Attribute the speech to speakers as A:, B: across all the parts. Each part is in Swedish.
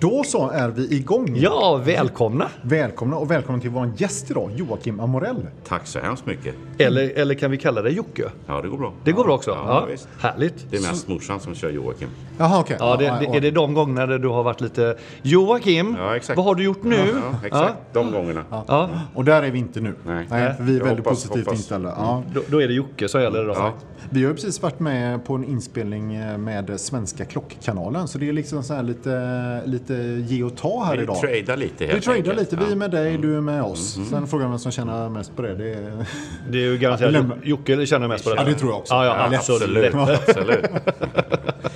A: Då så är vi igång.
B: Ja, välkomna!
A: Välkomna och välkommen till vår gäst idag, Joakim Amorell.
C: Tack så hemskt mycket.
B: Eller, eller kan vi kalla dig Jocke?
C: Ja, det går bra.
B: Det går
C: ja,
B: bra också?
C: Ja, visst.
B: Härligt.
C: Det är mest morsan som kör Joakim.
A: Jaha, okej.
B: Ja, det, det, är det de gångerna där du har varit lite Joakim,
C: Ja, exakt.
B: vad har du gjort nu?
C: Ja, exakt. De gångerna.
B: Ja. Ja.
A: Och där är vi inte nu.
C: Nej.
A: för vi är
C: Jag
A: väldigt
C: hoppas-
A: positivt
C: hoppas.
A: inställda. Ja.
B: Då, då är det Jocke som gäller idag.
C: Ja.
A: Vi har ju precis varit med på en inspelning eh, med Svenska Klockkanalen, så det är liksom så här lite, lite ge och ta här
C: Vi
A: idag.
C: tradar lite helt
A: Vi tradar
C: enkelt. Mm.
A: lite. Vi
C: Ja.
A: är med dig, du är med oss. Sen frågar man vem som tjänar mest på det. det är...
B: Det är ju garanterat
A: Lämna.
B: Jocke känner mest på det.
A: Ja, det tror jag också.
B: Ja, ja,
A: Ja,
B: absolut.
C: Absolut. absolut.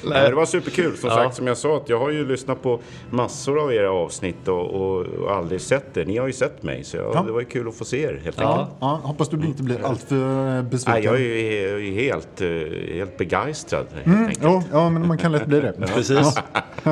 C: Nej, men det var superkul. Som
B: Ja.
C: sagt, som jag sa, att jag har ju lyssnat på massor av era avsnitt och, och, och aldrig sett er. Ni har ju sett mig, så jag,
A: Ja.
C: det var ju kul att få se er helt
B: Ja.
C: enkelt.
A: Ja, hoppas du inte blir alltför eh, besviken.
C: Nej, jag är ju jag är ju helt, eh, helt begeistrad helt
B: Mm.
C: enkelt.
A: Jo, ja, men man kan lätt bli det.
B: Precis.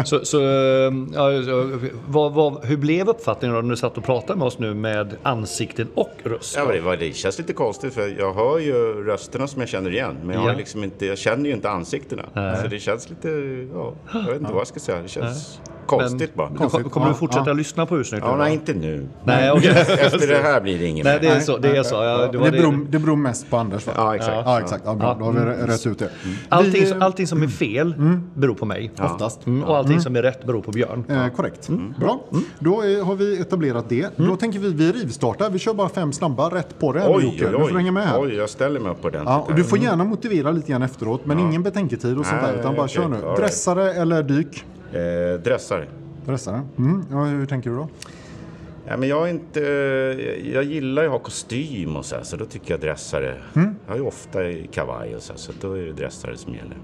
B: Så, så, ehm, ja, så, vad, vad, hur blev uppfattningen då när du satt och pratade med oss nu med ansikten och
C: Ja,
B: rösten?
C: men det, var, det känns lite konstigt för jag hör ju rösterna som jag känner igen. Men jag,
B: Ja.
C: har liksom inte, jag känner ju inte ansiktena. Så det känns lite, ja, jag vet inte vad jag ska säga. Det känns konstigt bara.
B: Du, kom- kommer
A: Ja,
B: du fortsätta
A: ja.
B: lyssna på hur snyggt
C: Ja,
B: det var?
C: nej, inte nu.
B: Nej, okej.
C: Efter det här blir det ingen
B: Nej, det är
A: Nej,
B: så. Det är så. Ja, det
A: det,
B: var det-
A: beror, det beror mest på Anders va?
C: Ja, Mm. exakt.
A: Ja, exakt. Ja, bra. Då har vi rä- rätt ut det.
B: Allting,
A: Vi,
B: som- allting som är fel
C: Mm.
B: beror på mig.
A: Oftast.
B: Mm, och allting som är rätt beror på Björn.
A: Eh, korrekt.
C: Mm.
A: Bra. Då eh, har vi etablerat det. Då tänker vi vi rivstartar. Vi kör bara fem snabba rätt på det. här nu,
C: Oj,
A: Jocke.
C: oj,
A: Du får hänga med här.
C: oj. jag ställer mig upp ordentligt
A: Ja, och du
C: här.
A: får gärna motivera lite grann efteråt, men ingen betänketid och sånt
C: Nej,
A: där, utan bara
C: okej.
A: kör nu.
C: All right.
A: Dressare eller dyk?
C: Eh, dressar.
A: Dressare. Mm. Ja, hur tänker du då?
C: Ja, men jag, är inte, eh, jag gillar ju att ha kostym och så här, så då tycker jag dressare.
A: Mm.
C: Jag har ju ofta i kavaj och så här, så då är det dressare som gäller.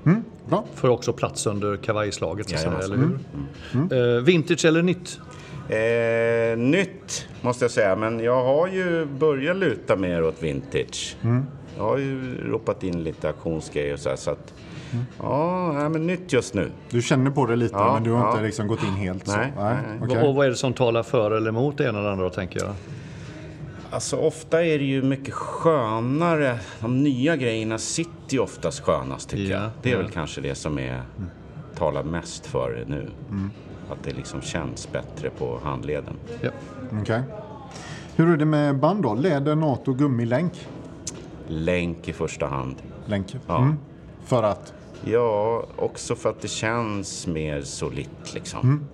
A: Bra.
B: Får också plats under kavajslaget, så att säga, eller
C: Jajamensan.
B: hur?
C: Mm.
B: Eh, vintage eller nytt?
C: Eh, nytt måste jag säga, men jag har ju börjat luta mer åt vintage.
B: Mm.
C: Jag har ju ropat in lite auktionsgrejer och så här, så att... Ja, nej, men nytt just nu.
A: Du känner på det lite,
C: Ja,
A: men du har
C: ja.
A: inte liksom gått in helt så.
C: Nej, nej.
A: okej.
B: Och vad är det som talar för eller emot det ena eller andra, tänker jag?
C: Alltså ofta är det ju mycket skönare. De nya grejerna sitter ju oftast skönast tycker
B: Ja,
C: jag. Det är
B: ja. Mm.
C: väl kanske det som är, talar mest för det nu. Att det liksom känns bättre på handleden.
B: Ja.
A: Okej. Hur är det med band då? Läder, NATO, gummilänk?
C: Länk i första hand.
A: Länk.
C: Ja.
A: Mm. För att?
C: Ja, också för att det känns mer solitt liksom.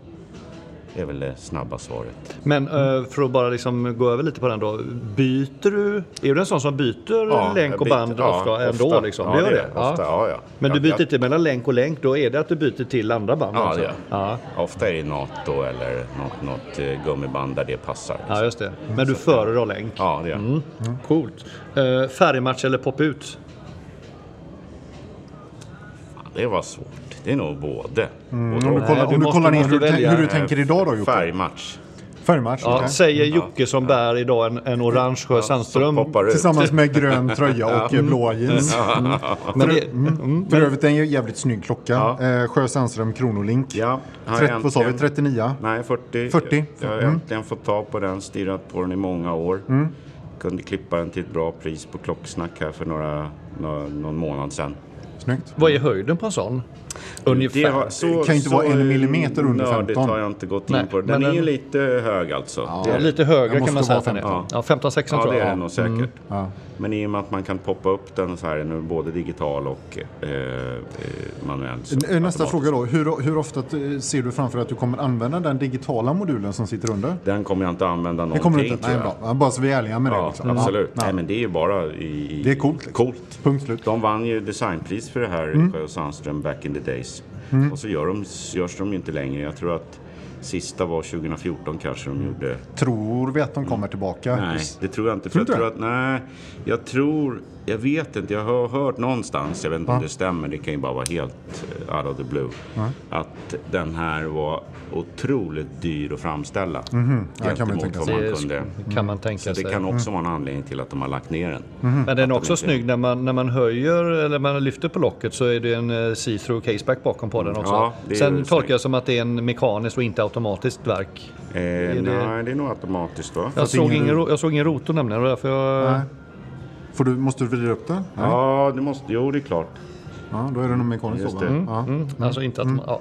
C: Det är väl det snabba svaret.
B: Men
C: Mm.
B: eh, för att bara liksom gå över lite på den då. Byter du? Är du en sån som byter länk
C: jag
B: och
C: byter-
B: band
C: ja,
B: ofta ändå?
C: ofta.
B: Liksom?
C: Ja,
B: du gör
C: det
B: det?
C: gör jag. Ofta, ja, ja.
B: Men du
C: Jag-
B: byter
C: jag-
B: inte mellan länk och länk? Då är det att du byter till andra band
C: Ja,
B: också?
C: det gör jag.
B: ja.
C: Ofta är det NATO eller något, något eh, gummiband där det passar. liksom.
B: ja, just det. Men du föredrar länk?
C: Ja, det gör jag.
B: Mm. Coolt. Eh, färgmatch eller pop ut?
C: Fan, Det var svårt. Det är nog både.
A: Om
C: både Eh,
A: du kollar, Eh,
B: Mm. Nej, du
A: om du
B: måste-
A: kollar ner
B: måste
A: hur, du tän-
B: välja.
A: hur du tänker idag då Jocke?
C: Färgmatch.
A: Färgmatch?
B: Ja,
A: okej.
B: Säger
C: Mm.
B: Jocke som bär idag en, en orange Sjö Sandström.
C: Som poppar ut.
A: Tillsammans med grön tröja och blåa jeans.
B: Mm.
A: mm.
B: Men det,
C: Mm.
A: För övrigt, det är en jävligt snygg klocka.
C: Ja.
A: Eh, Sjö Sandström Kronolink.
C: Ja, har
A: Trett-
C: jag
A: vad sa vi? Mm.
C: äntligen-
A: 39?
C: Nej, 40.
A: 40.
C: Jag har äntligen fått tag på den, stirrat på den i många år.
A: Mm.
C: Kunde klippa den till ett bra pris på Klocksnack här för några, några, någon månad sedan.
A: Snyggt.
B: vad är höjden på en sån? Ungefär.
C: Det har-
A: kan ju inte vara en millimeter under
C: Nördigt
A: 15.
C: har jag inte gått
B: Nej,
C: in på. Den
B: men
C: är ju
B: den-
C: lite hög alltså. Det
B: Ja,
C: är-
B: lite
A: Jag
B: högre
A: måste
B: kan man säga
A: vara
B: att den är.
C: 15.
B: Ja, 15-16
C: Ja,
B: tror
C: det är
B: jag.
C: den nog säkert.
A: Mm. Ja.
C: Men i och med att man kan poppa upp den så här nu, både digital och eh, eh, manuellt. så
A: Eh, Nästa
C: automatiskt.
A: fråga då. Hur, hur ofta eh, ser du framför dig att du kommer använda den digitala modulen som sitter under?
C: Den kommer jag inte använda
A: Det
C: någonting.
A: kommer du inte?
C: tror
A: Nej,
C: jag.
A: bra. Ja, Bara så vi är ärliga med det.
C: Ja,
A: liksom.
C: absolut.
A: Ja.
C: Nej, men det är ju bara i... i
A: Det är coolt, liksom. Mm.
C: coolt.
A: Punkt slut.
C: De vann ju designpris för det här, Sjö och Sandström, back in the days.
A: Mm.
C: Och så gör de, görs de ju inte längre. Jag tror att sista var 2014 kanske de gjorde.
A: Tror vi att de kommer tillbaka?
C: Nej, det tror jag inte. För jag
A: Tror du
C: tror att, nej, jag tror, jag vet inte, jag har hört någonstans, jag vet inte om det stämmer, det kan ju bara vara helt eh, out of the blue, att den här var otroligt dyr att framställa. Mm-hmm.
A: Mhm. Ja, det kan man ju tänka
C: vad
A: sig.
C: man
B: Det
C: kunde. Mm.
B: sk- kan man tänka
C: Så
B: sig.
C: det kan också vara en anledning till att de har lagt ner den.
B: Men den är
C: de
B: också
C: inte-
B: snygg när man, när man höjer eller man lyfter på locket så är det en eh, see-through caseback bakom på den också.
C: Mm. Ja, det är
B: Sen
C: snyggt.
B: tolkar jag som att det är en mekaniskt och inte automatiskt verk.
C: Eh,
B: det-
C: Nej, det är nog automatiskt va?
B: Jag såg,
A: ingen
B: ingen,
A: ro-
B: ro- jag såg ingen rotor nämligen. och Därför jag...
A: Nej. Får du, måste du vrida upp den?
C: Ja, det måste, jo det är klart.
A: Ja, då är det nog mekaniskt.
C: Just
A: då, va?
C: det.
A: Ja.
C: Mm-hmm.
B: Mm, Mm-hmm. Alltså inte att man, ja.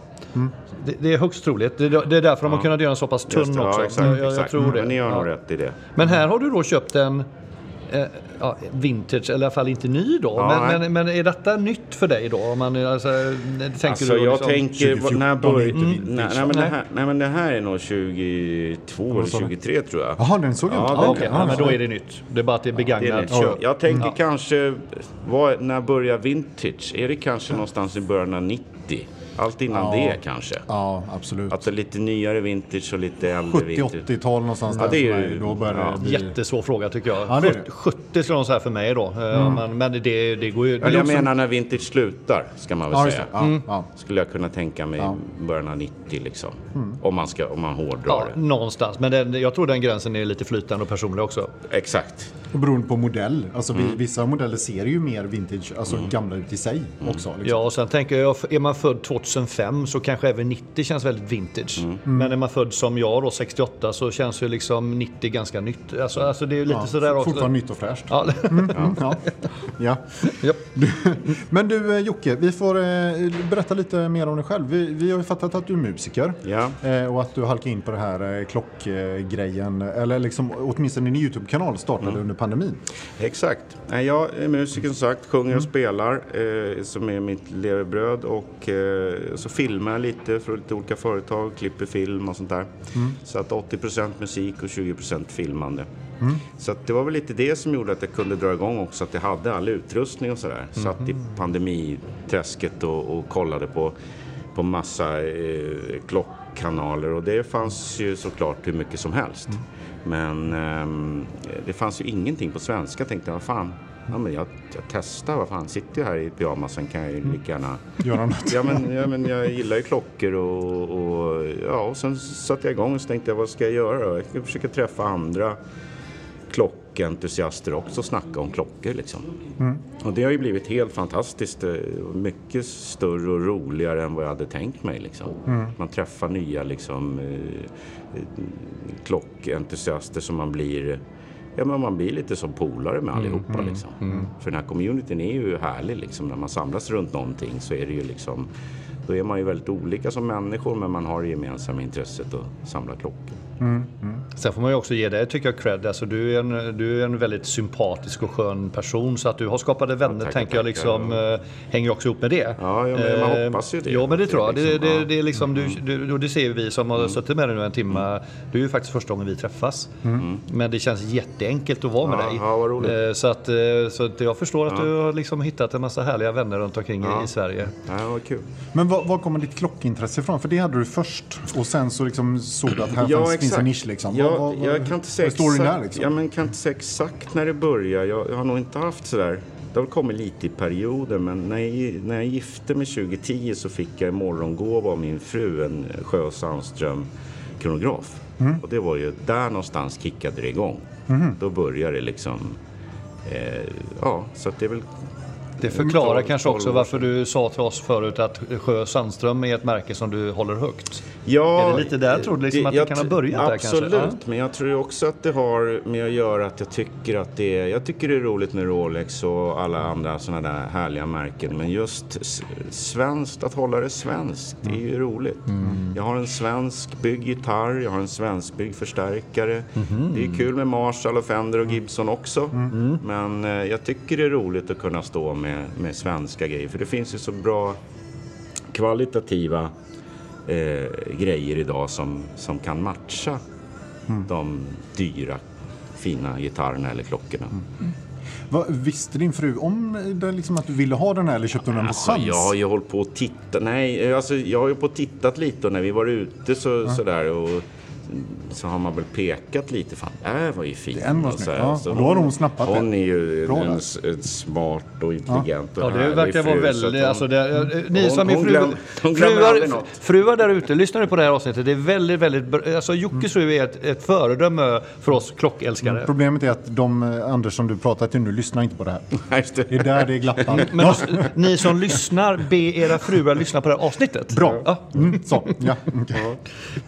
B: Det, det är högst troligt. Det, det är därför de har kunnat göra en så pass tunn
C: Just det,
B: också.
C: Ja, exakt,
B: jag, jag
C: exakt.
B: tror det.
C: Men ni gör
B: ja.
C: nog rätt i det.
B: Men här har du då köpt en eh, ja, vintage, eller i alla fall inte ny då.
C: Ja,
B: men,
C: nej.
B: men, men är detta nytt för dig då? Om man, är- alltså, tänker
C: Alltså
B: du då
C: jag
B: liksom,
C: tänker,
A: 2014
C: när
A: är inte
C: började...
A: vintage,
C: Nej, nej, men det här- nej men det här är nog 22 eller 23 tror jag.
A: Jaha, den såg jag
C: Ja,
A: inte.
B: Ja,
C: den-
B: okej, ja, men då är det nytt. Det är bara att det är
C: Det är
B: begagnat
C: nytt.
B: köp.
C: Jag tänkte kanske, vad, när börjar vintage? Är det kanske någonstans i början av 90? Allt innan det kanske?
A: Ja, absolut.
C: Alltså lite nyare vintage och lite äldre vintage.
A: 70-80-tal någonstans
C: Ja,
A: där
C: det är
A: för
C: ju-
A: mig. Då började
C: ja.
A: det bli...
B: Jättesvår fråga tycker jag.
A: Ja, det är det.
B: 70, 70 skulle de säga för mig då. Eh, Men, men det, det går ju...
C: Men
B: det är
C: Mm. jag
B: också-
C: menar när vintage slutar, ska man väl
A: Ja, just
C: säga.
A: det. Ja, ja.
C: Skulle jag kunna tänka mig i början av 90 liksom. Om, man ska, om man hårdrar
B: Ja, någonstans. Men den, jag tror den gränsen är lite flytande och personlig också.
C: det. Exakt.
A: Och Beroende på modell. Alltså,
C: Mm.
A: vi- Vissa modeller ser ju mer vintage, alltså gamla ut i sig
C: Mm.
A: också. Liksom.
B: Ja, och sen tänker jag, är man född 2005 så kanske även 90 känns väldigt vintage.
A: Mm.
B: Men är man född som jag då, 68, så känns ju liksom 90 ganska nytt. Alltså, alltså det är ju lite
A: Ja,
B: sådär också.
A: Fortfarande nytt och fräscht.
B: Ja,
A: Mm, ja. Ja.
B: Japp.
A: Men du eh, Jocke, vi får eh, berätta lite mer om dig själv. Vi, vi har ju fattat att du är musiker
C: Ja.
A: eh, och att du halkar in på det här eh, klockgrejen. Eller liksom, åtminstone din YouTube-kanal startade
C: Mm.
A: under pandemin.
C: Exakt. Nej, jag är musiker som sagt, sjunger och spelar eh, som är mitt levebröd och eh, så filmar jag lite för lite olika företag, klipper film och sånt där. Så att 80% musik och 20% filmande. Så att det var väl lite det som gjorde att jag kunde dra igång också, att jag hade all utrustning och sådär. Satt i pandemiträsket och, och kollade på på massa eh, klockkanaler och det fanns ju såklart hur mycket som helst. Men ehm, det fanns ju ingenting på svenska. tänkte jag, vad fan, ja, men jag, jag testar, vad fan, sitter jag här i pyjamasen kan jag ju lika gärna...
A: Göra något.
C: Ja men, ja, men jag gillar ju klockor och, och, ja, och sen satte jag igång och så tänkte jag, vad ska jag göra då? Jag ska försöka träffa andra klockentusiaster också och snacka om klockor liksom. Och det har ju blivit helt fantastiskt. eh, och Mycket större och roligare än vad jag hade tänkt mig liksom. Man träffar nya liksom eh, eh, klockentusiaster som man blir Ja, men man blir lite som polare med allihopa. liksom. För den här communityn är ju härlig. Liksom. När man samlas runt någonting så är det ju liksom... Då är man ju väldigt olika som människor men man har det gemensamma intresset att samla klockor.
B: Sen får man ju också ge dig, tycker jag, cred. Alltså, du, är en, du är en väldigt sympatisk och skön person. Så att du har skapade vänner,
C: tackar,
B: tänker jag,
C: tackar.
B: liksom, eh, hänger ju också ihop med det.
C: Ja, ja, men man hoppas ju det.
B: Ja, men det
C: Det är
B: tror jag. Det,
C: liksom,
B: det,
C: ja. Mm.
B: det, är liksom, du, du, och det ser ju vi som har suttit med dig nu en timme. Det är ju faktiskt första gången vi träffas. Men det känns jätteenkelt att vara med
C: Mm. Ja,
B: dig.
C: ja, vad roligt.
B: Eh, Så, att, eh, så att jag förstår att du har liksom hittat en massa härliga vänner runt omkring i- i Sverige.
C: Ja, vad kul.
A: Men var, var kommer ditt klockintresse ifrån? För det hade du först och sen så liksom såg du att här
C: Ja,
A: fanns, finns
C: exakt.
A: en nisch. Liksom.
C: Ja,
A: Vad- vad- vad-
C: jag kan inte säga
A: vad är storyn
C: exakt,
A: där liksom?
C: ja, men kan inte säga exakt när det börjar. Jag, jag har nog inte haft sådär. Det har väl kommit lite i perioder, men när jag, när jag gifte mig 2010 så fick jag i morgongåva av min fru en Sjö och Sandström kronograf.
A: Mm.
C: Och det var ju där någonstans kickade det igång.
A: Mm-hmm.
C: Då började det liksom. Eh, ja, så att det är väl
B: Det förklarar
C: tolv-
B: kanske också
C: tolv år
B: varför du sa till oss förut att Sjö Sandström är ett märke som du håller högt.
C: Ja,
B: Är det lite där jag trodde liksom att det
C: jag
B: kan ha
C: tr-
B: börjat där kanske?
C: Absolut,
B: Ja.
C: men jag tror ju också att det har med att göra att jag tycker att det är, jag tycker det är roligt med Rolex och alla andra sådana där härliga märken. Men just s- svenskt, att hålla det svenskt, det är ju roligt.
B: Mm.
C: Jag har en svensk byggd gitarr, jag har en svensk byggd förstärkare.
B: Mm-hmm.
C: Det är kul med Marshall och Fender
B: Mm.
C: och Gibson också. Men eh, jag tycker det är roligt att kunna stå med, med svenska grejer, för det finns ju så bra kvalitativa eh, grejer idag som, som kan matcha
A: Mm.
C: de dyra fina gitarrerna eller klockorna.
A: Mm. Vad- visste din fru om det, liksom, att du ville ha den här eller köpte hon den på
C: Alltså,
A: chans?
C: jag har ju hållit på och tittat. Nej, eh, alltså, jag har ju på och tittat lite och när vi var ute så, sådär och så har man väl pekat lite. Fan, det här var ju fint.
A: Den var
C: och
A: snygg.
C: sådär.
A: Ja, och då har hon snappat
C: hon
A: det.
C: är ju
A: Bra
C: en,
A: där.
C: s- en smart och intelligent
B: Ja,
C: och
B: det
C: härlig
B: verkar vara
C: fru, så att
B: väldigt...
C: hon-
B: Alltså, det, eh, ni
C: hon-
B: som är
C: hon
B: fru,
C: glöm- hon glömmer aldrig
B: fruar,
C: något.
B: fruar där ute, lyssnar du på det här avsnittet? Det är väldigt, väldigt... br- Alltså
C: Mm.
B: Jockes fru är ett, ett föredöme för oss klockälskare.
A: Problemet är att de eh, Anders som du pratar till nu lyssnar inte på det här.
C: Nej, just det.
A: Det är där det är glappan.
B: Men s- ni som lyssnar, be era fruar lyssna på det här avsnittet.
A: Bra.
B: Ja.
A: Mm, så. Ja, okej.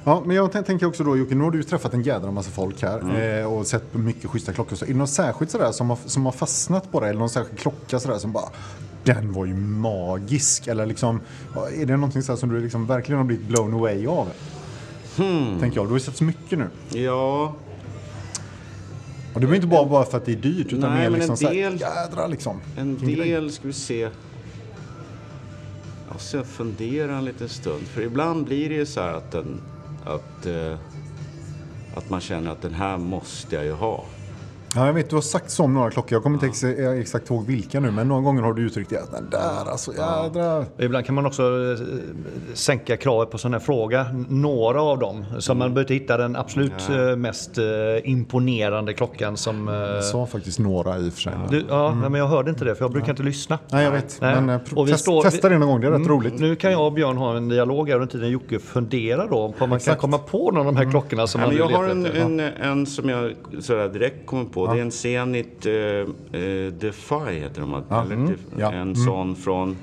A: ja, men jag tän- tänker också då Jocke, nu har du ju träffat en jädra massa folk här
C: Mm.
A: eh, och sett på mycket schyssta klockor. Så är det något särskilt sådär som har, som har fastnat på dig? Eller någon särskild klocka sådär som bara den var ju magisk. Eller liksom, är det någonting sådär som du liksom verkligen har blivit blown away av?
C: Hmm.
A: Tänker jag. Du har ju sett så mycket nu.
C: Ja,
A: Och det är ju inte bara, bara för att det är dyrt utan
C: Nej,
A: mer
C: men en
A: liksom såhär,
C: del-
A: jädra liksom.
C: En
A: Vilken grej.
C: del ska vi se. Jag ska fundera en liten stund. För ibland blir det ju så här att, den, att, eh, att man känner att den här måste jag ju ha.
A: Ja, jag vet, du har sagt så om några klockor. Jag kommer inte ex- exakt ihåg vilka nu, men några gånger har du uttryckt det. att Den där alltså, jädra.
B: Ibland kan man också eh, sänka kravet på sån här fråga. Några av dem. Så man
C: Mm.
B: behöver inte hitta den absolut eh, mest eh, imponerande klockan som... eh,
A: Jag sa faktiskt några i och för sig.
B: Du, ja,
C: Mm.
B: men jag hörde inte det för jag brukar inte lyssna.
A: Nej, jag vet.
B: Nej.
A: Men eh, pro-
B: Och vi Mm.
A: test,
B: står-
A: testa det någon gång, det är rätt roligt.
B: Nu kan jag och Björn ha en dialog här under tiden Jocke funderar då på om man kan
A: Exakt.
B: komma på någon av de här klockorna som
C: Mm. Nej, men
B: man
C: jag
B: letar
C: har en,
B: efter.
C: en, en som jag sådär direkt kommer på. Det är en Zenit eh, eh, Defy heter de. Eller, Def-
A: Ja. Mm.
C: En sån från,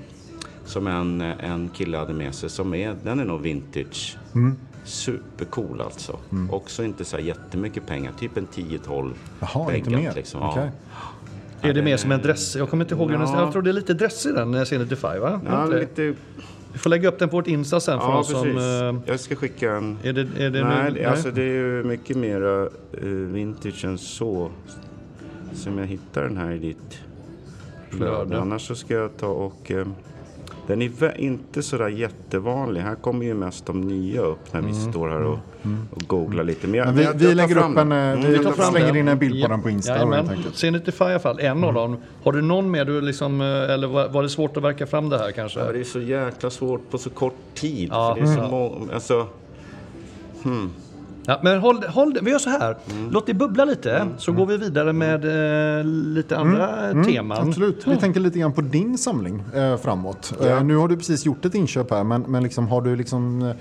C: som en, en kille hade med sig. Som är, den är nog vintage.
A: Mm.
C: Supercool alltså. Också inte så här jättemycket pengar. Typ en 10-12
A: Jaha, inte
C: bänkat,
A: mer?
C: Liksom. Ja.
A: Okej.
B: Är det mer som en dress? Jag kommer inte ihåg. hur den-
C: Ja.
B: Jag tror det är lite dressig den eh, Zenit Defy va?
C: Ja,
B: Inte det?
C: lite,
B: Vi får lägga upp den på vårt Insta sen för
C: ja
B: de som...
C: precis.
B: eh,
C: Jag ska skicka en.
B: Är det, är det
C: Nej,
B: nu-
C: det- alltså det är ju mycket mer vintage än så. Som jag hittar den här i ditt flöde.
B: Flöde.
C: Annars så ska jag ta och... eh, Den är vä- inte sådär jättevanlig. Här kommer ju mest de nya upp när vi står här och, och googlar lite. jag-
A: Men vi-
C: jag-
A: vi
C: jag tar
A: lägger
C: fram
A: upp en,
C: den.
A: eh,
C: Mm,
A: vi
C: jag tar
A: tar
C: fram
A: fram- slänger
B: den.
A: in en bild på
B: Ja.
A: den på Insta,
B: Jajamän.
A: helt enkelt.
B: Zenit Defy i alla fall, en
C: Mm.
B: av dem. Har du någon mer du liksom, eh, eller var var det svårt att verka fram det här kanske?
C: Ja, Det är så jäkla svårt på så kort tid.
B: Ja.
C: För det är så många... Alltså,
B: Ja, men håll, håll, vi gör så här.
C: Mm.
B: Låt det bubbla lite, så går vi vidare med eh, lite
C: Mm.
B: andra eh, teman.
A: Absolut. Vi tänker lite grann på din samling eh, framåt. Eh, nu har du precis gjort ett inköp här, men, men liksom, har, du liksom, eh,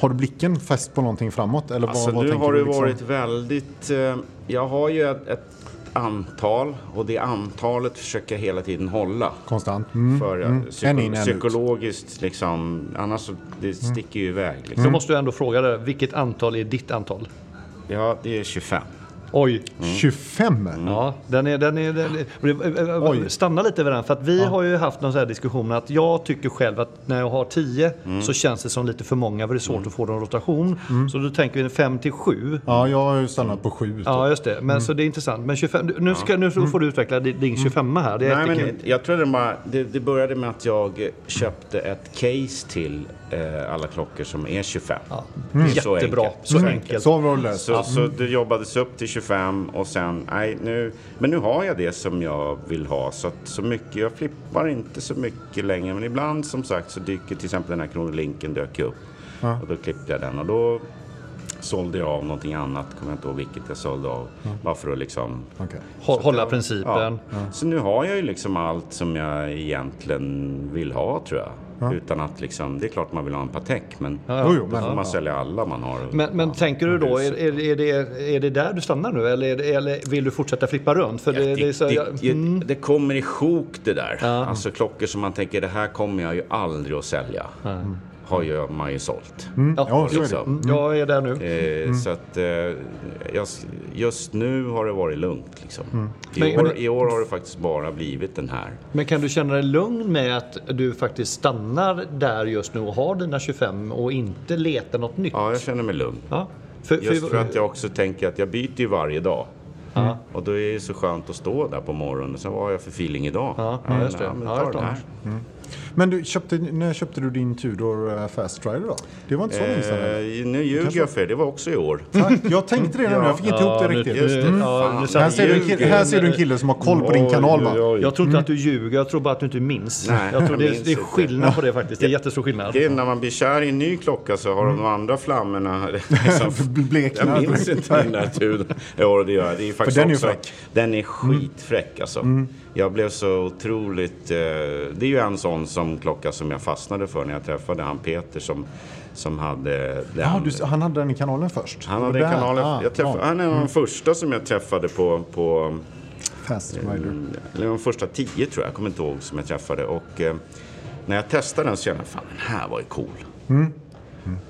A: har du blicken fäst på någonting framåt? Eller
C: Alltså
A: vad, vad
C: nu
A: tänker
C: har det
A: du liksom?
C: varit väldigt... Eh, jag har ju ett, ett antal och det antalet försöker jag hela tiden hålla.
A: Konstant. Mm.
C: För eh, psyko-
A: En in, en ut. Mm.
C: psykologiskt liksom, annars så det sticker ju iväg. Liksom.
B: Då måste jag ändå fråga dig, vilket antal är ditt antal?
C: Ja, det är 25.
B: Oj,
A: 25?
B: Ja, den är, den är, den är,
A: Oj.
B: Stanna lite vid den, för att vi har ju haft någon sån här diskussion att jag tycker själv att när jag har 10 så känns det som lite för många för det är svårt att få dem rotation. Så då tänker vi 5 till 7.
A: Ja, jag har ju stannat på typ. 7.
B: Ja, just det. Men så det är intressant. Men 25, du- nu, ska, nu får du utveckla din- din 25 här. Det är
C: Nej,
B: jättekul.
C: men jag tror det, bara, det, det började med att jag köpte ett case till eh, alla klockor som är 25. Det är så
B: Jättebra.
C: enkelt.
B: Så enkelt.
A: Mm. Så har vi löst.
C: Så, så det jobbades upp till 25 och sen, nej nu, men nu har jag det som jag vill ha. Så, att, så mycket, jag flippar inte så mycket längre. Men ibland som sagt så dyker till exempel den här kronolinken dök upp. Och då klippte jag den och då sålde jag av någonting annat. Kommer jag inte ihåg vilket jag sålde av. Bara för att liksom
A: Okej.
B: Hå- Hålla principen.
C: så nu har jag ju liksom allt som jag egentligen vill ha tror jag. Utan att liksom, det är klart man vill ha en Patek men
B: Ja.
A: Jo, jo,
C: då
A: men-
C: får man sälja alla man har.
B: Men, men
C: Ja.
B: tänker du då, är, är, är, det, är det där du stannar nu eller, är det, eller vill du fortsätta flippa runt? För det, det, är så, jag, mm.
C: det, det kommer i sjok det där. Alltså klockor som man tänker, det här kommer jag ju aldrig att sälja. Har ju, man ju sålt.
A: Ja,
B: ja,
A: så är det.
C: liksom.
B: mm, jag är där nu.
C: Eh, Så att eh, jag, just nu har det varit lugnt liksom. I,
B: Men-
C: år,
B: men-
C: I år har det faktiskt bara blivit den här.
B: Men kan du känna dig lugn med att du faktiskt stannar där just nu och har dina 25 och inte letar något nytt?
C: Ja, jag känner mig lugn.
B: Ja. För, för,
C: Just för att jag också tänker att jag byter ju varje dag. Och då är det så skönt att stå där på morgonen. Sen vad har jag för feeling idag?
B: Ja, ja, just det.
C: men
B: Ja,
C: ta
B: jag
C: den
B: tar
C: här.
A: Men du, köpte, när köpte du din Tudor eh, Fast Rider då? Det var inte så länge sedan? eller?
C: Eh, nu ljuger jag för er, det var också i år.
A: Tack. Jag tänkte det nu, jag fick inte ihop det riktigt. Mm. Här ser, du en kille, här ser du en kille som har koll på din kanal va?
B: Jag tror inte att du ljuger, jag tror bara att du inte minns.
C: Nej,
B: jag tror
C: jag
B: det,
C: minns
B: är, det är
C: inte.
B: skillnad på det faktiskt. Det är jättestor skillnad.
C: Det är när man blir kär i en ny klocka så har
B: Mm.
C: de andra flammorna liksom...
A: Bleknar.
C: Jag minns inte den där turen. Jo, det gör jag. Det är faktiskt
A: den är ju
C: också,
A: fräck. Mm.
C: Den är skitfräck alltså. Jag blev så otroligt... Eh, det är ju en sån som klocka som jag fastnade för när jag träffade han Peter som, som hade den.
A: Ah, du, han hade den i kanalen först?
C: Han
A: Det var
C: hade en
A: där.
C: kanal.
A: Ah,
C: jag träffade,
A: ja.
C: Han är en av de första som jag träffade på, på
A: Fast Rider.
C: eller de första tio tror jag, jag kommer inte ihåg, som jag träffade. Och eh, när jag testade den så kände jag, fan den här var ju cool.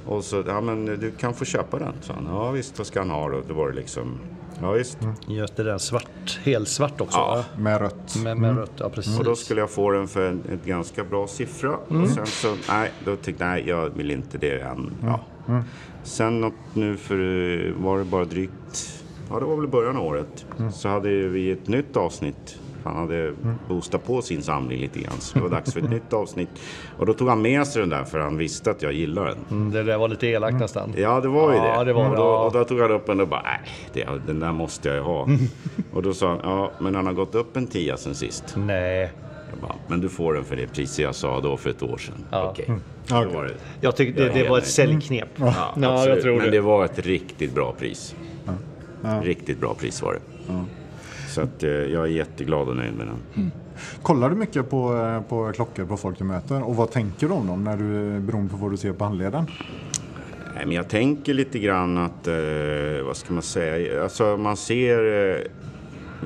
C: Och så, ja men du kan få köpa den, sa han. Ja visst, vad ska han ha då? Då var det liksom, ja visst.
B: Just det, den svart, helsvart också.
C: Ja.
B: va?
A: Med rött.
C: Mm.
B: Med, med rött, ja precis.
C: Och då skulle jag få den för en ett ganska bra siffra.
B: Mm.
C: Och sen så, nej, då tyckte jag, nej, jag vill inte det än. Ja.
B: Mm.
C: Sen något nu för, eh, var det bara drygt, ja det var väl i början av året,
B: Mm.
C: så hade ju vi ett nytt avsnitt. Han hade boostat på sin samling lite grann, så det var dags för ett nytt avsnitt. Och då tog han med sig den där, för han visste att jag gillar den.
B: Mm, Det där var lite elakt nästan.
C: Ja, det var ju
B: Ja,
C: det.
B: det var
C: och,
B: det,
C: då,
B: ja. Mm.
C: och då tog han upp den och bara, nej, det, den där måste jag ju ha. och då sa han, ja, men han har gått upp en tia sen sist.
B: Nej.
C: Jag bara, men du får den för det pris jag sa då för ett år sedan.
B: Ja.
C: Okej.
A: Ja,
C: Då var det.
B: Jag tyckte det,
C: Ja,
B: det
C: ja,
B: var ett
C: nej.
B: säljknep. Mm. Ja,
C: absolut.
B: jag tror
C: men
B: det.
C: det var ett riktigt bra pris. Riktigt bra pris var det. Så att, eh, jag är jätteglad och nöjd med den.
A: Kollar du mycket på, eh, på klockor på folk du möter? Och vad tänker du om dem när du, eh, beroende på vad du ser på handleden?
C: Nej, men jag tänker lite grann att, eh, vad ska man säga, alltså man ser eh,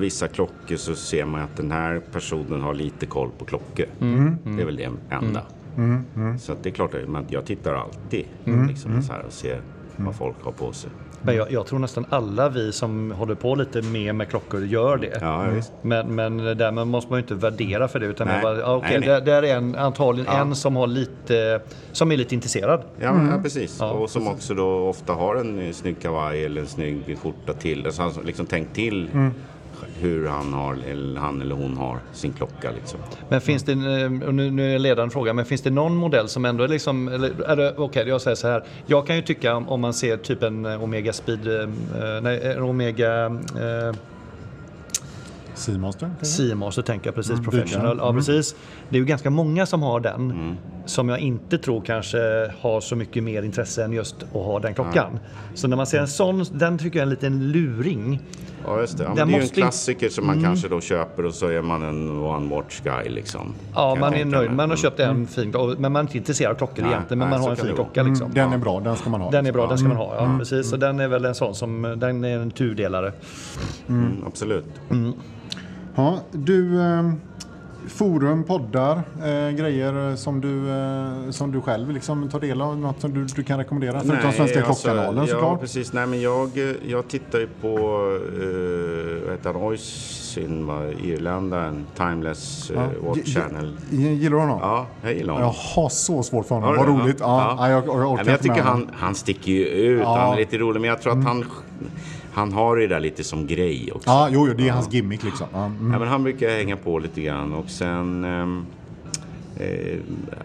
C: vissa klockor så ser man att den här personen har lite koll på klockor. Det är väl det enda.
B: Mm.
C: Mm. Så att det är klart, att man- jag tittar alltid liksom, så här, och ser vad folk har på sig.
B: Men jag, jag tror nästan alla vi som håller på lite mer med klockor gör det.
C: Ja, visst.
B: Men, men därmed måste man ju inte värdera för det. Utan
C: Nej.
B: man bara, ah, okej,
C: Nej, nej.
B: där, där är en, antagligen en som, har lite, som är lite intresserad.
C: Ja, men, ja precis. och som också då ofta har en eh, snygg kavaj eller en snygg skjorta till. Alltså han har liksom tänkt till hur han, har, eller han eller hon har sin klocka. Liksom.
B: Men finns det, en, eh, och nu, nu är det en ledande fråga, men finns det någon modell som ändå är liksom, eller är det, okej jag säger så här. Jag kan ju tycka om, om man ser typ en eh, Omega Speed, eh, nej en Omega eh,
A: Seamaster?
B: Simon så tänker jag precis
C: Mm.
A: dykaren.
B: professional. Ja, precis. Det är ju ganska många som har den
C: Mm.
B: som jag inte tror kanske har så mycket mer intresse än just att ha den klockan.
C: Mm.
B: Så när man ser en sån, den tycker jag är en liten luring.
C: Ja, just det. Ja, men det är
B: Den
C: ju en
B: måste inte-
C: klassiker som man kanske då köper och så är man en one watch guy. Liksom, Kan
B: Ja,
C: jag
B: man är
C: tänka
B: nöjd.
C: mig.
B: Man har
C: Mm.
B: köpt en fin klocka, men man är inte intresserad av klockor
C: Nej,
B: egentligen. Men man
C: nej,
B: har
C: så
B: en
C: kan
B: fin
C: det vara. Mm.
B: klocka liksom.
A: Den är bra, den ska man ha.
B: Den är bra, den ska man ha. Ja, precis. Så den är väl en sån som, den är en tudelare.
C: Mm, absolut.
A: Ja, du, eh, forum, poddar, eh, grejer som du, eh, som du själv liksom tar del av? Något som du, du kan rekommendera? Förutom Svenska Klockkanalen
C: alltså, ja,
A: såklart.
C: Precis. Nej, men jag, eh, jag tittar ju på eh, vad heter han, Oisin, va, irländaren, Timeless eh, Watch Channel.
A: G- Gillar du honom?
C: Ja, jag gillar honom.
A: Jag har så svårt för
C: Har
A: honom.
C: du
A: Vad
C: det?
A: roligt. Ja. nej, jag, jag
C: Nej,
A: orkar
C: men jag
A: inte
C: tycker
A: med honom.
C: han, han sticker ju ut.
A: Ja. Mm.
C: Han är lite rolig, men jag tror att han, han har det där lite som grej också.
A: Ja, jo, jo, det är hans gimmick liksom. Ja, mm.
C: Ja, men han brukar hänga på lite grann och sen ehm, eh,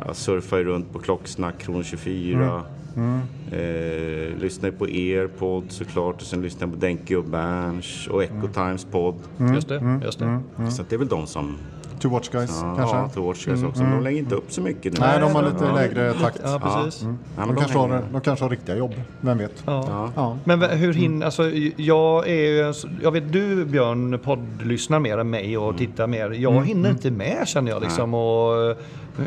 C: jag surfar ju runt på Klocksnack, Kron 24.
A: Mm.
C: Eh, lyssnar ju på er podd såklart och sen lyssnar jag på Denke och Berns och Echo
A: Mm.
C: Times podd.
B: Just det, just det.
C: Så att det är väl de som...
A: Two Watch Guys Mm. kanske? Mm.
C: Ja, till Watchers också. Men de lägger inte upp så mycket nu.
A: Nej, de har lite
C: Ja.
A: lägre takt.
B: Ja, precis.
C: Ja, Mm. men
A: De, kanske har,
C: hänger-
A: de kanske har riktiga jobb, vem vet?
B: ja.
A: Ja.
B: Men vä- hur
A: Mm.
B: hinner, alltså jag är ju, en s- jag vet du Björn poddlyssnar mer än mig
A: Mm.
B: och tittar mer. Jag hinner inte med känner jag liksom. Och, eh,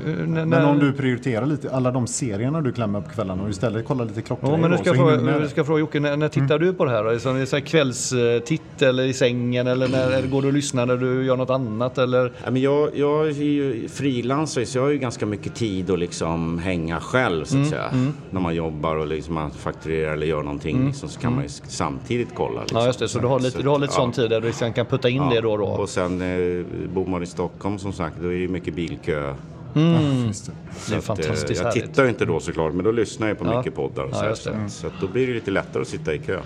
B: när,
A: Men
B: när,
A: om du prioriterar lite, alla de serierna du klämmer upp kvällarna och istället kollar lite klockor.
B: Ja, men nu
A: så Mm.
B: ska jag,
A: hinner du
B: fråga,
A: med
B: nu
A: det.
B: ska jag fråga Jocke, när, när tittar du på det här? då? Är det så- Är det så här kvällstitt eller i sängen eller när, eller går du och lyssnar när du gör något annat? Eller?
C: Ja, men jag, jag är ju frilansare så jag har ju ganska mycket tid att liksom hänga själv
B: Mm,
C: så att säga. När man jobbar och liksom man fakturerar eller gör någonting liksom, så kan man ju s- samtidigt kolla. Liksom.
B: Mm, Ja, just det. Så du har lite, du har lite
C: ja.
B: sån tid där du liksom kan putta in det då och då?
C: Och sen eh, bor man i Stockholm som sagt, då är det ju mycket bilkö.
B: Mm.
A: Ja, just det.
B: Det är
C: Att, eh,
B: fantastiskt
C: jag
B: härligt.
C: tittar ju inte då såklart, men då lyssnar jag på
B: Ja.
C: mycket poddar och
B: Ja,
C: så, här,
B: just
C: så,
B: det.
C: att, så att då blir det lite lättare att sitta i kö.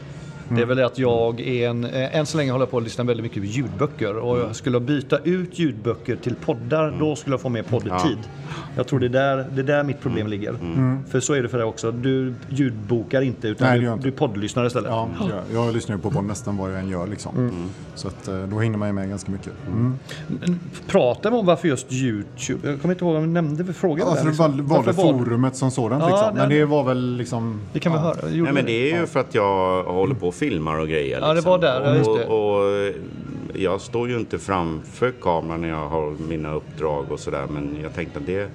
B: Det är väl det att jag är en, eh, än så länge håller jag på att lyssna väldigt mycket på ljudböcker och jag skulle jag byta ut ljudböcker till poddar då skulle jag få mer poddtid. Jag tror det är där, det är där mitt problem
A: Mm.
B: ligger. För så är det för dig också, du ljudbokar inte utan
A: Nej, det gör
B: du,
A: jag inte.
B: du poddlyssnar istället.
A: Ja, jag, jag lyssnar ju på vad- nästan vad jag än gör liksom. Så att, eh, då hinner man ju med ganska mycket. Mm.
B: Pratar vi om varför just Youtube? Jag kommer inte ihåg om vi nämnde vi frågade
A: Alltså,
B: det. liksom.
A: det var, var det
B: Varför var-
A: forumet som sådant
B: Ja,
A: liksom. Men
B: det-
A: det var väl liksom...
B: Det kan vi höra. Gjorde
C: Nej, men
B: vi?
C: det är ju för att jag håller på och filmar och grejer. liksom.
B: Ja, det var där, ja, just det.
C: Och, och eh, jag står ju inte framför kameran när jag har mina uppdrag och sådär, men jag tänkte att det...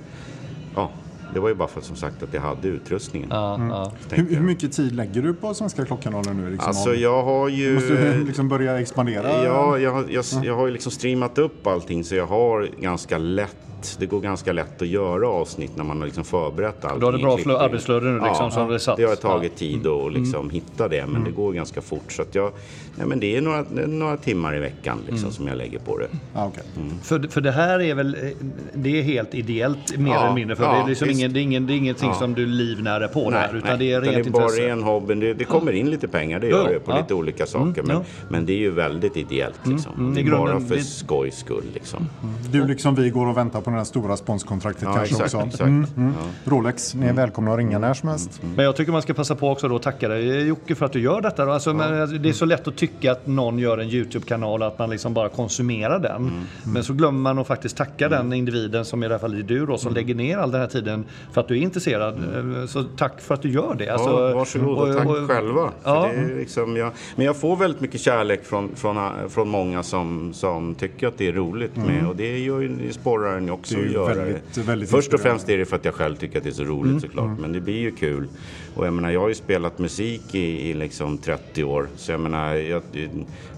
C: Ja, Det var ju bara för att som sagt att jag hade utrustningen.
B: Ja,
A: Mm.
B: ja.
A: Hur, hur mycket tid lägger du på Svenska Klockkanalen nu? Liksom,
C: Alltså
A: om-
C: jag har ju...
A: Måste du liksom börja expandera?
C: Ja, jag, har- jag, jag har ju liksom streamat upp allting så jag har ganska lätt, det går ganska lätt att göra avsnitt när man har liksom förberett allting.
B: Då har du bra
C: i
B: flö-
C: klippningen.
B: arbetsflöde nu liksom som det är satt. Mm.
C: Det har tagit tid att liksom hitta det, men det går ganska fort. Så att jag, nej, men det är några, några timmar i veckan liksom,
B: Mm.
C: som jag lägger på det.
A: Ah, okej.
B: För, för det här är väl, eh, det är helt ideellt mer
C: Ja,
B: eller mindre. För
C: ja,
B: det, är liksom
C: visst.
B: ingen, det, är ingen, det är ingenting som du livnär dig på där, utan det är
C: utan
B: rent
C: det är bara
B: intresse.
C: ren hobby. Det, det kommer in lite pengar, det
B: Ja,
C: gör det, på
B: ja.
C: lite olika saker.
B: Mm,
C: men,
B: ja.
C: men det är ju väldigt ideellt liksom.
B: mm,
C: det
B: i
C: är bara
B: grunden, det-
C: för
B: Mm,
C: skojs skull liksom.
A: Du liksom vi går och väntar på det här stora sponskontraktet
C: Ja,
A: kanske
C: exakt,
A: också.
C: exakt.
A: Mm, mm. Rolex, ni är välkomna att ringa när som helst.
B: Men jag tycker man ska passa på också då att tacka dig eh, Jocke för att du gör detta. då. Alltså, men, alltså, det är
C: Mm.
B: så lätt att tycka att någon gör en YouTube-kanal och att man liksom bara konsumerar den.
C: Mm.
B: Men så glömmer man att faktiskt tacka den individen som i det här fallet är du då, som
C: Mm.
B: lägger ner all den här tiden för att du är intresserad. Eh, Så tack för att du gör det. Alltså,
C: ja, varsågod och, tack själva.
B: Ja.
C: För det är liksom jag, men jag får väldigt mycket kärlek från, från, från många som, som tycker att det är roligt
B: Mm.
C: med och det gör ju, det sporrar en ju också
A: Det är
C: att
A: ju
C: göra
A: väldigt-
C: det.
A: väldigt
C: Först och
A: inspirerande.
C: främst är det för att jag själv tycker att det är så roligt såklart, men det blir ju kul. Och jag menar, jag har ju spelat musik i, i liksom 30 år, så jag menar, jag,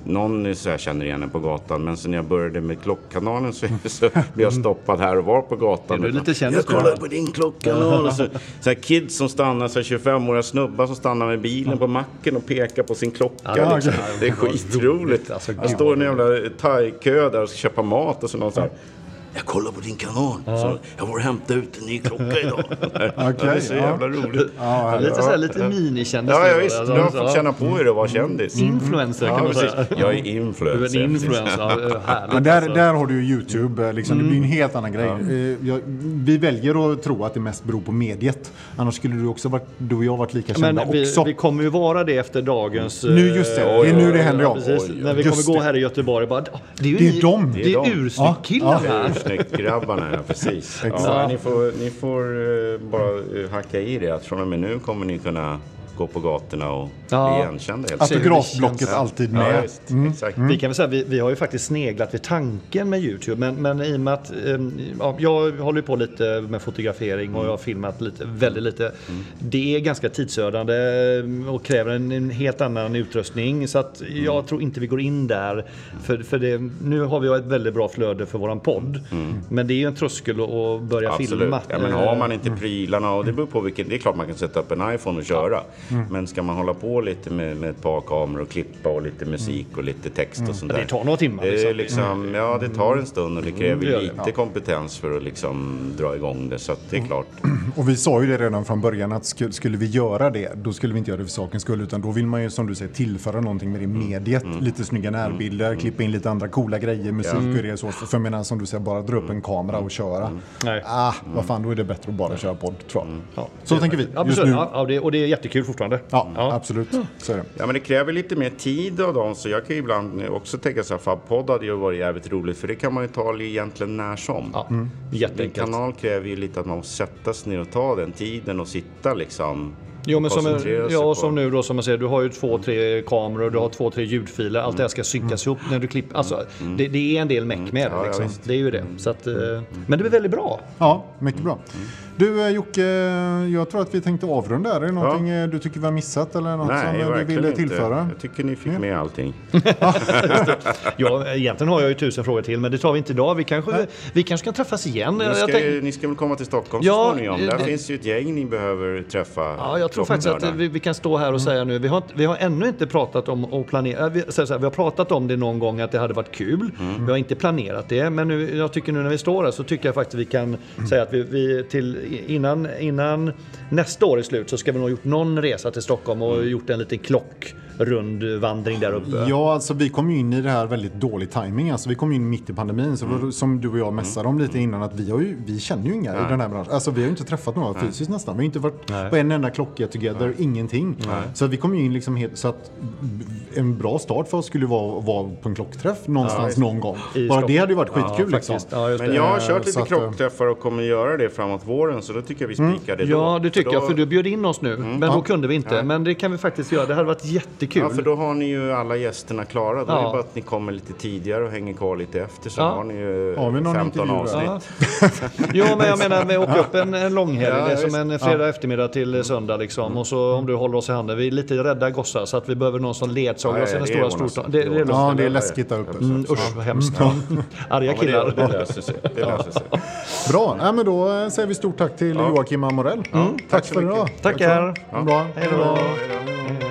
C: någon är så här känner igen en på gatan, men sen när jag började med klockkanalen så, så blev jag stoppad här och var på gatan.
B: Är du lite kändis
C: jag
B: då?
C: kollar på din klockkanal. Och så, så här kids som stannar, så här 25-åriga snubbar som stannar med bilen på macken och pekar på sin klocka.
B: Ja,
C: liksom.
B: ja, det
C: Det är
B: kan vara roligt.
C: skitroligt.
B: Alltså,
C: Jag
B: gud,
C: står i en jävla thai-kö där och ska köpa mat och så någon så här. Jag kollar på din kanal. Så jag var och hämtade ut en ny klocka idag. det är så
A: ja.
C: jävla roligt.
A: Ja,
B: Ja,
A: härligt.
B: lite så här, lite minikändis.
C: Ja, ja
B: nu,
C: visst.
B: alltså,
C: Du har
B: ja.
C: fått känna på hur det var kändis. Mm.
B: Influencer kan
C: Ja,
B: man
C: precis.
B: säga.
C: Jag är
B: Du är
C: influencer.
B: en influencer. Ja, härligt,
A: Men där,
B: alltså.
A: där har du ju YouTube, eh, liksom. det blir en helt annan grej. Eh, jag, vi väljer att tro att det mest beror på mediet. Annars skulle du, också varit, du och jag varit lika kända
B: Men vi,
A: också.
B: vi kommer ju vara det efter dagens...
A: Nu, just det.
B: eh,
A: Det är nu det händer, ja.
B: precis.
A: Oj, oj.
B: När vi
A: Just
B: kommer gå
A: det.
B: här i Göteborg och bara... "Ah, Det är ju
A: Det är
B: ni-
A: dem.
B: Det
A: Det
C: är
B: är
C: dem.
B: ursnyggt-killarna.
C: Ja, Snyggt grabbarna, ja precis. Ja,
A: Exakt.
C: ni får, ni får eh, bara eh, hacka i det att från och med nu kommer ni kunna gå på gatorna och
B: Ja.
C: bli igenkända helt enkelt.
A: Autografblocket
B: känns.
A: Alltså alltid
C: Ja,
A: med.
C: visst, exakt.
B: Vi kan väl säga, vi, vi har ju faktiskt sneglat vid tanken med Youtube. Men, men i och med att ehm, ja, jag håller ju på lite med fotografering och jag har filmat lite, väldigt lite. Det är ganska tidsödande eh, och kräver en, en helt annan utrustning. Så att jag tror inte vi går in där. För, för det, nu har vi ju ett väldigt bra flöde för våran podd. Men det är ju en tröskel att- att börja
C: Absolut.
B: filma.
C: Ja, men har
B: Mm.
C: man inte prylarna och det beror på vilken, det är klart man kan sätta upp en iPhone och köra.
B: Mm.
C: Men ska man hålla på lite med, med ett par kameror och klippa och lite musik och lite text och sånt där.
B: Mm. Eh, det tar några timmar,
C: Det, är
B: liksom. Mm.
C: liksom, ja, det tar en stund och det kräver
B: det gör det.
C: lite kompetens för att liksom dra igång det. Så att
B: Mm.
C: det är klart.
A: Och vi sa ju det redan från början att sku- skulle vi göra det, då skulle vi inte göra det för sakens skull. Utan då vill man ju som du säger tillföra någonting med det
C: Mm.
A: mediet. Lite snygga närbilder, klippa in lite andra coola grejer, musik och det. Så. För jag menar som du säger, bara dra
C: Mm.
A: upp en kamera och köra.
B: Nej.
A: Ah, vad fan, då är det bättre att bara köra podd tror
C: Mm.
A: jag.
B: Ja.
A: Så tänker vi
B: Ja,
A: just
B: precis.
A: nu.
B: Ja, ja, det, och det är jättekul fortfarande.
A: Ja, absolut. Så är det.
C: Ja, men det kräver lite mer tid av dem, så jag kan ju ibland också tänka så här, fan podd hade ju varit jävligt roligt, för det kan man ju ta egentligen när som.
B: Ja,
C: En
B: Jätteenkelt.
C: kanal kräver ju lite att man måste sätta sig ner och ta den tiden och sitta liksom.
B: Jo, men som,
C: koncentrera sig
B: ja,
C: på-
B: som nu då som man säger, du har ju två, tre kameror, du har två, tre ljudfiler. Allt det
C: Mm.
B: här ska synkas ihop när du klipper. Alltså, det, det är en del meck med det.
C: ja,
B: Liksom.
C: visst. Mm.
B: Det är ju det. Så att, eh, men det blir väldigt bra.
A: Ja, mycket bra. Du eh, Jocke, jag tror att vi tänkte avrunda. här. Är det någonting eh, du tycker vi har missat eller något
C: Nej,
A: som eh, du
C: verkligen
A: ville
C: inte.
A: tillföra?
C: Jag tycker ni fick med allting.
B: Ja, egentligen har jag ju tusen frågor till, men det tar vi inte idag. Vi kanske, vi kanske kan träffas igen.
C: Ni
B: Jag
C: ska,
B: tänk-
C: ju, ni ska väl komma till Stockholm
B: Ja,
C: så småningom? Där
B: det-
C: finns ju ett gäng ni behöver träffa.
B: Ja, jag tror faktiskt att
C: klocknördar.
B: vi, vi kan stå
C: Mm.
B: här och säga nu, vi har, inte- vi har ännu inte pratat om att planera, äh, vi, så här, så här, vi har pratat om det någon gång att det hade varit kul.
C: Mm.
B: Vi har inte planerat det, men nu, jag tycker nu när vi står här så tycker jag faktiskt vi kan
C: Mm.
B: säga att vi, vi till, innan, innan nästa år är slut så ska vi nog ha gjort någon resa till Stockholm och
C: Mm.
B: gjort en liten klockrundvandring där uppe.
A: Ja, alltså vi kom ju in i det här väldigt dålig timing. Alltså vi kom ju in mitt i pandemin,
B: Mm.
A: så var- som du och jag messade om lite innan, att vi, har ju, vi känner ju inga i den här branschen. Alltså vi har ju inte träffat några fysiskt nästan. Vi har inte varit på en enda klocka together, ingenting. Så vi kom ju in liksom helt, så att en bra start för oss skulle vara att vara på en klockträff någonstans någon gång. Bara det
B: Stockholm.
A: hade ju varit
B: Ja,
A: skitkul liksom.
B: faktiskt. Ja, just
C: Men
B: det.
C: jag har
A: Eh,
C: kört
A: så
C: lite
A: att, eh, Mm.
C: krockträffar och kommer göra det framåt våren, så då tycker jag vi spikar det då.
B: Ja, det tycker
C: då, Mm.
B: jag, för du bjöd in oss nu. Men då kunde vi inte. Men det kan vi faktiskt göra. Det hade varit jättekul.
C: Ja, för då har ni ju alla gästerna klara. Då är
B: Ja.
C: det bara att ni kommer lite tidigare och hänger kvar lite efter. Så
B: Ja.
C: har ni ju
A: Har vi någon
C: 15
A: intervju då?
C: avsnitt.
B: Ja. Jo, men jag menar, vi åker upp en, en långhelg.
C: Ja,
B: det är som
C: visst.
B: en fredag eftermiddag till söndag. Liksom. Och så om du håller oss i handen. Vi är lite rädda gossar, så att vi behöver någon som ledsagar oss i
C: Nej,
B: den
C: det
B: stora
C: ordnar sig.
B: stortån. Det, det är lugnt.
A: Ja, det är läskigt där uppe.
B: Mm, usch, vad hemskt. Arga
C: Ja, men det, det
B: killar.
C: löser sig. Det löser sig.
A: Bra, ja, men då eh, säger vi stort tack till Joakim Amorell. Tack,
C: tack så
A: för
C: mycket.
A: idag.
B: Tackar.
A: Bra.
B: Hej då.
C: Hej då.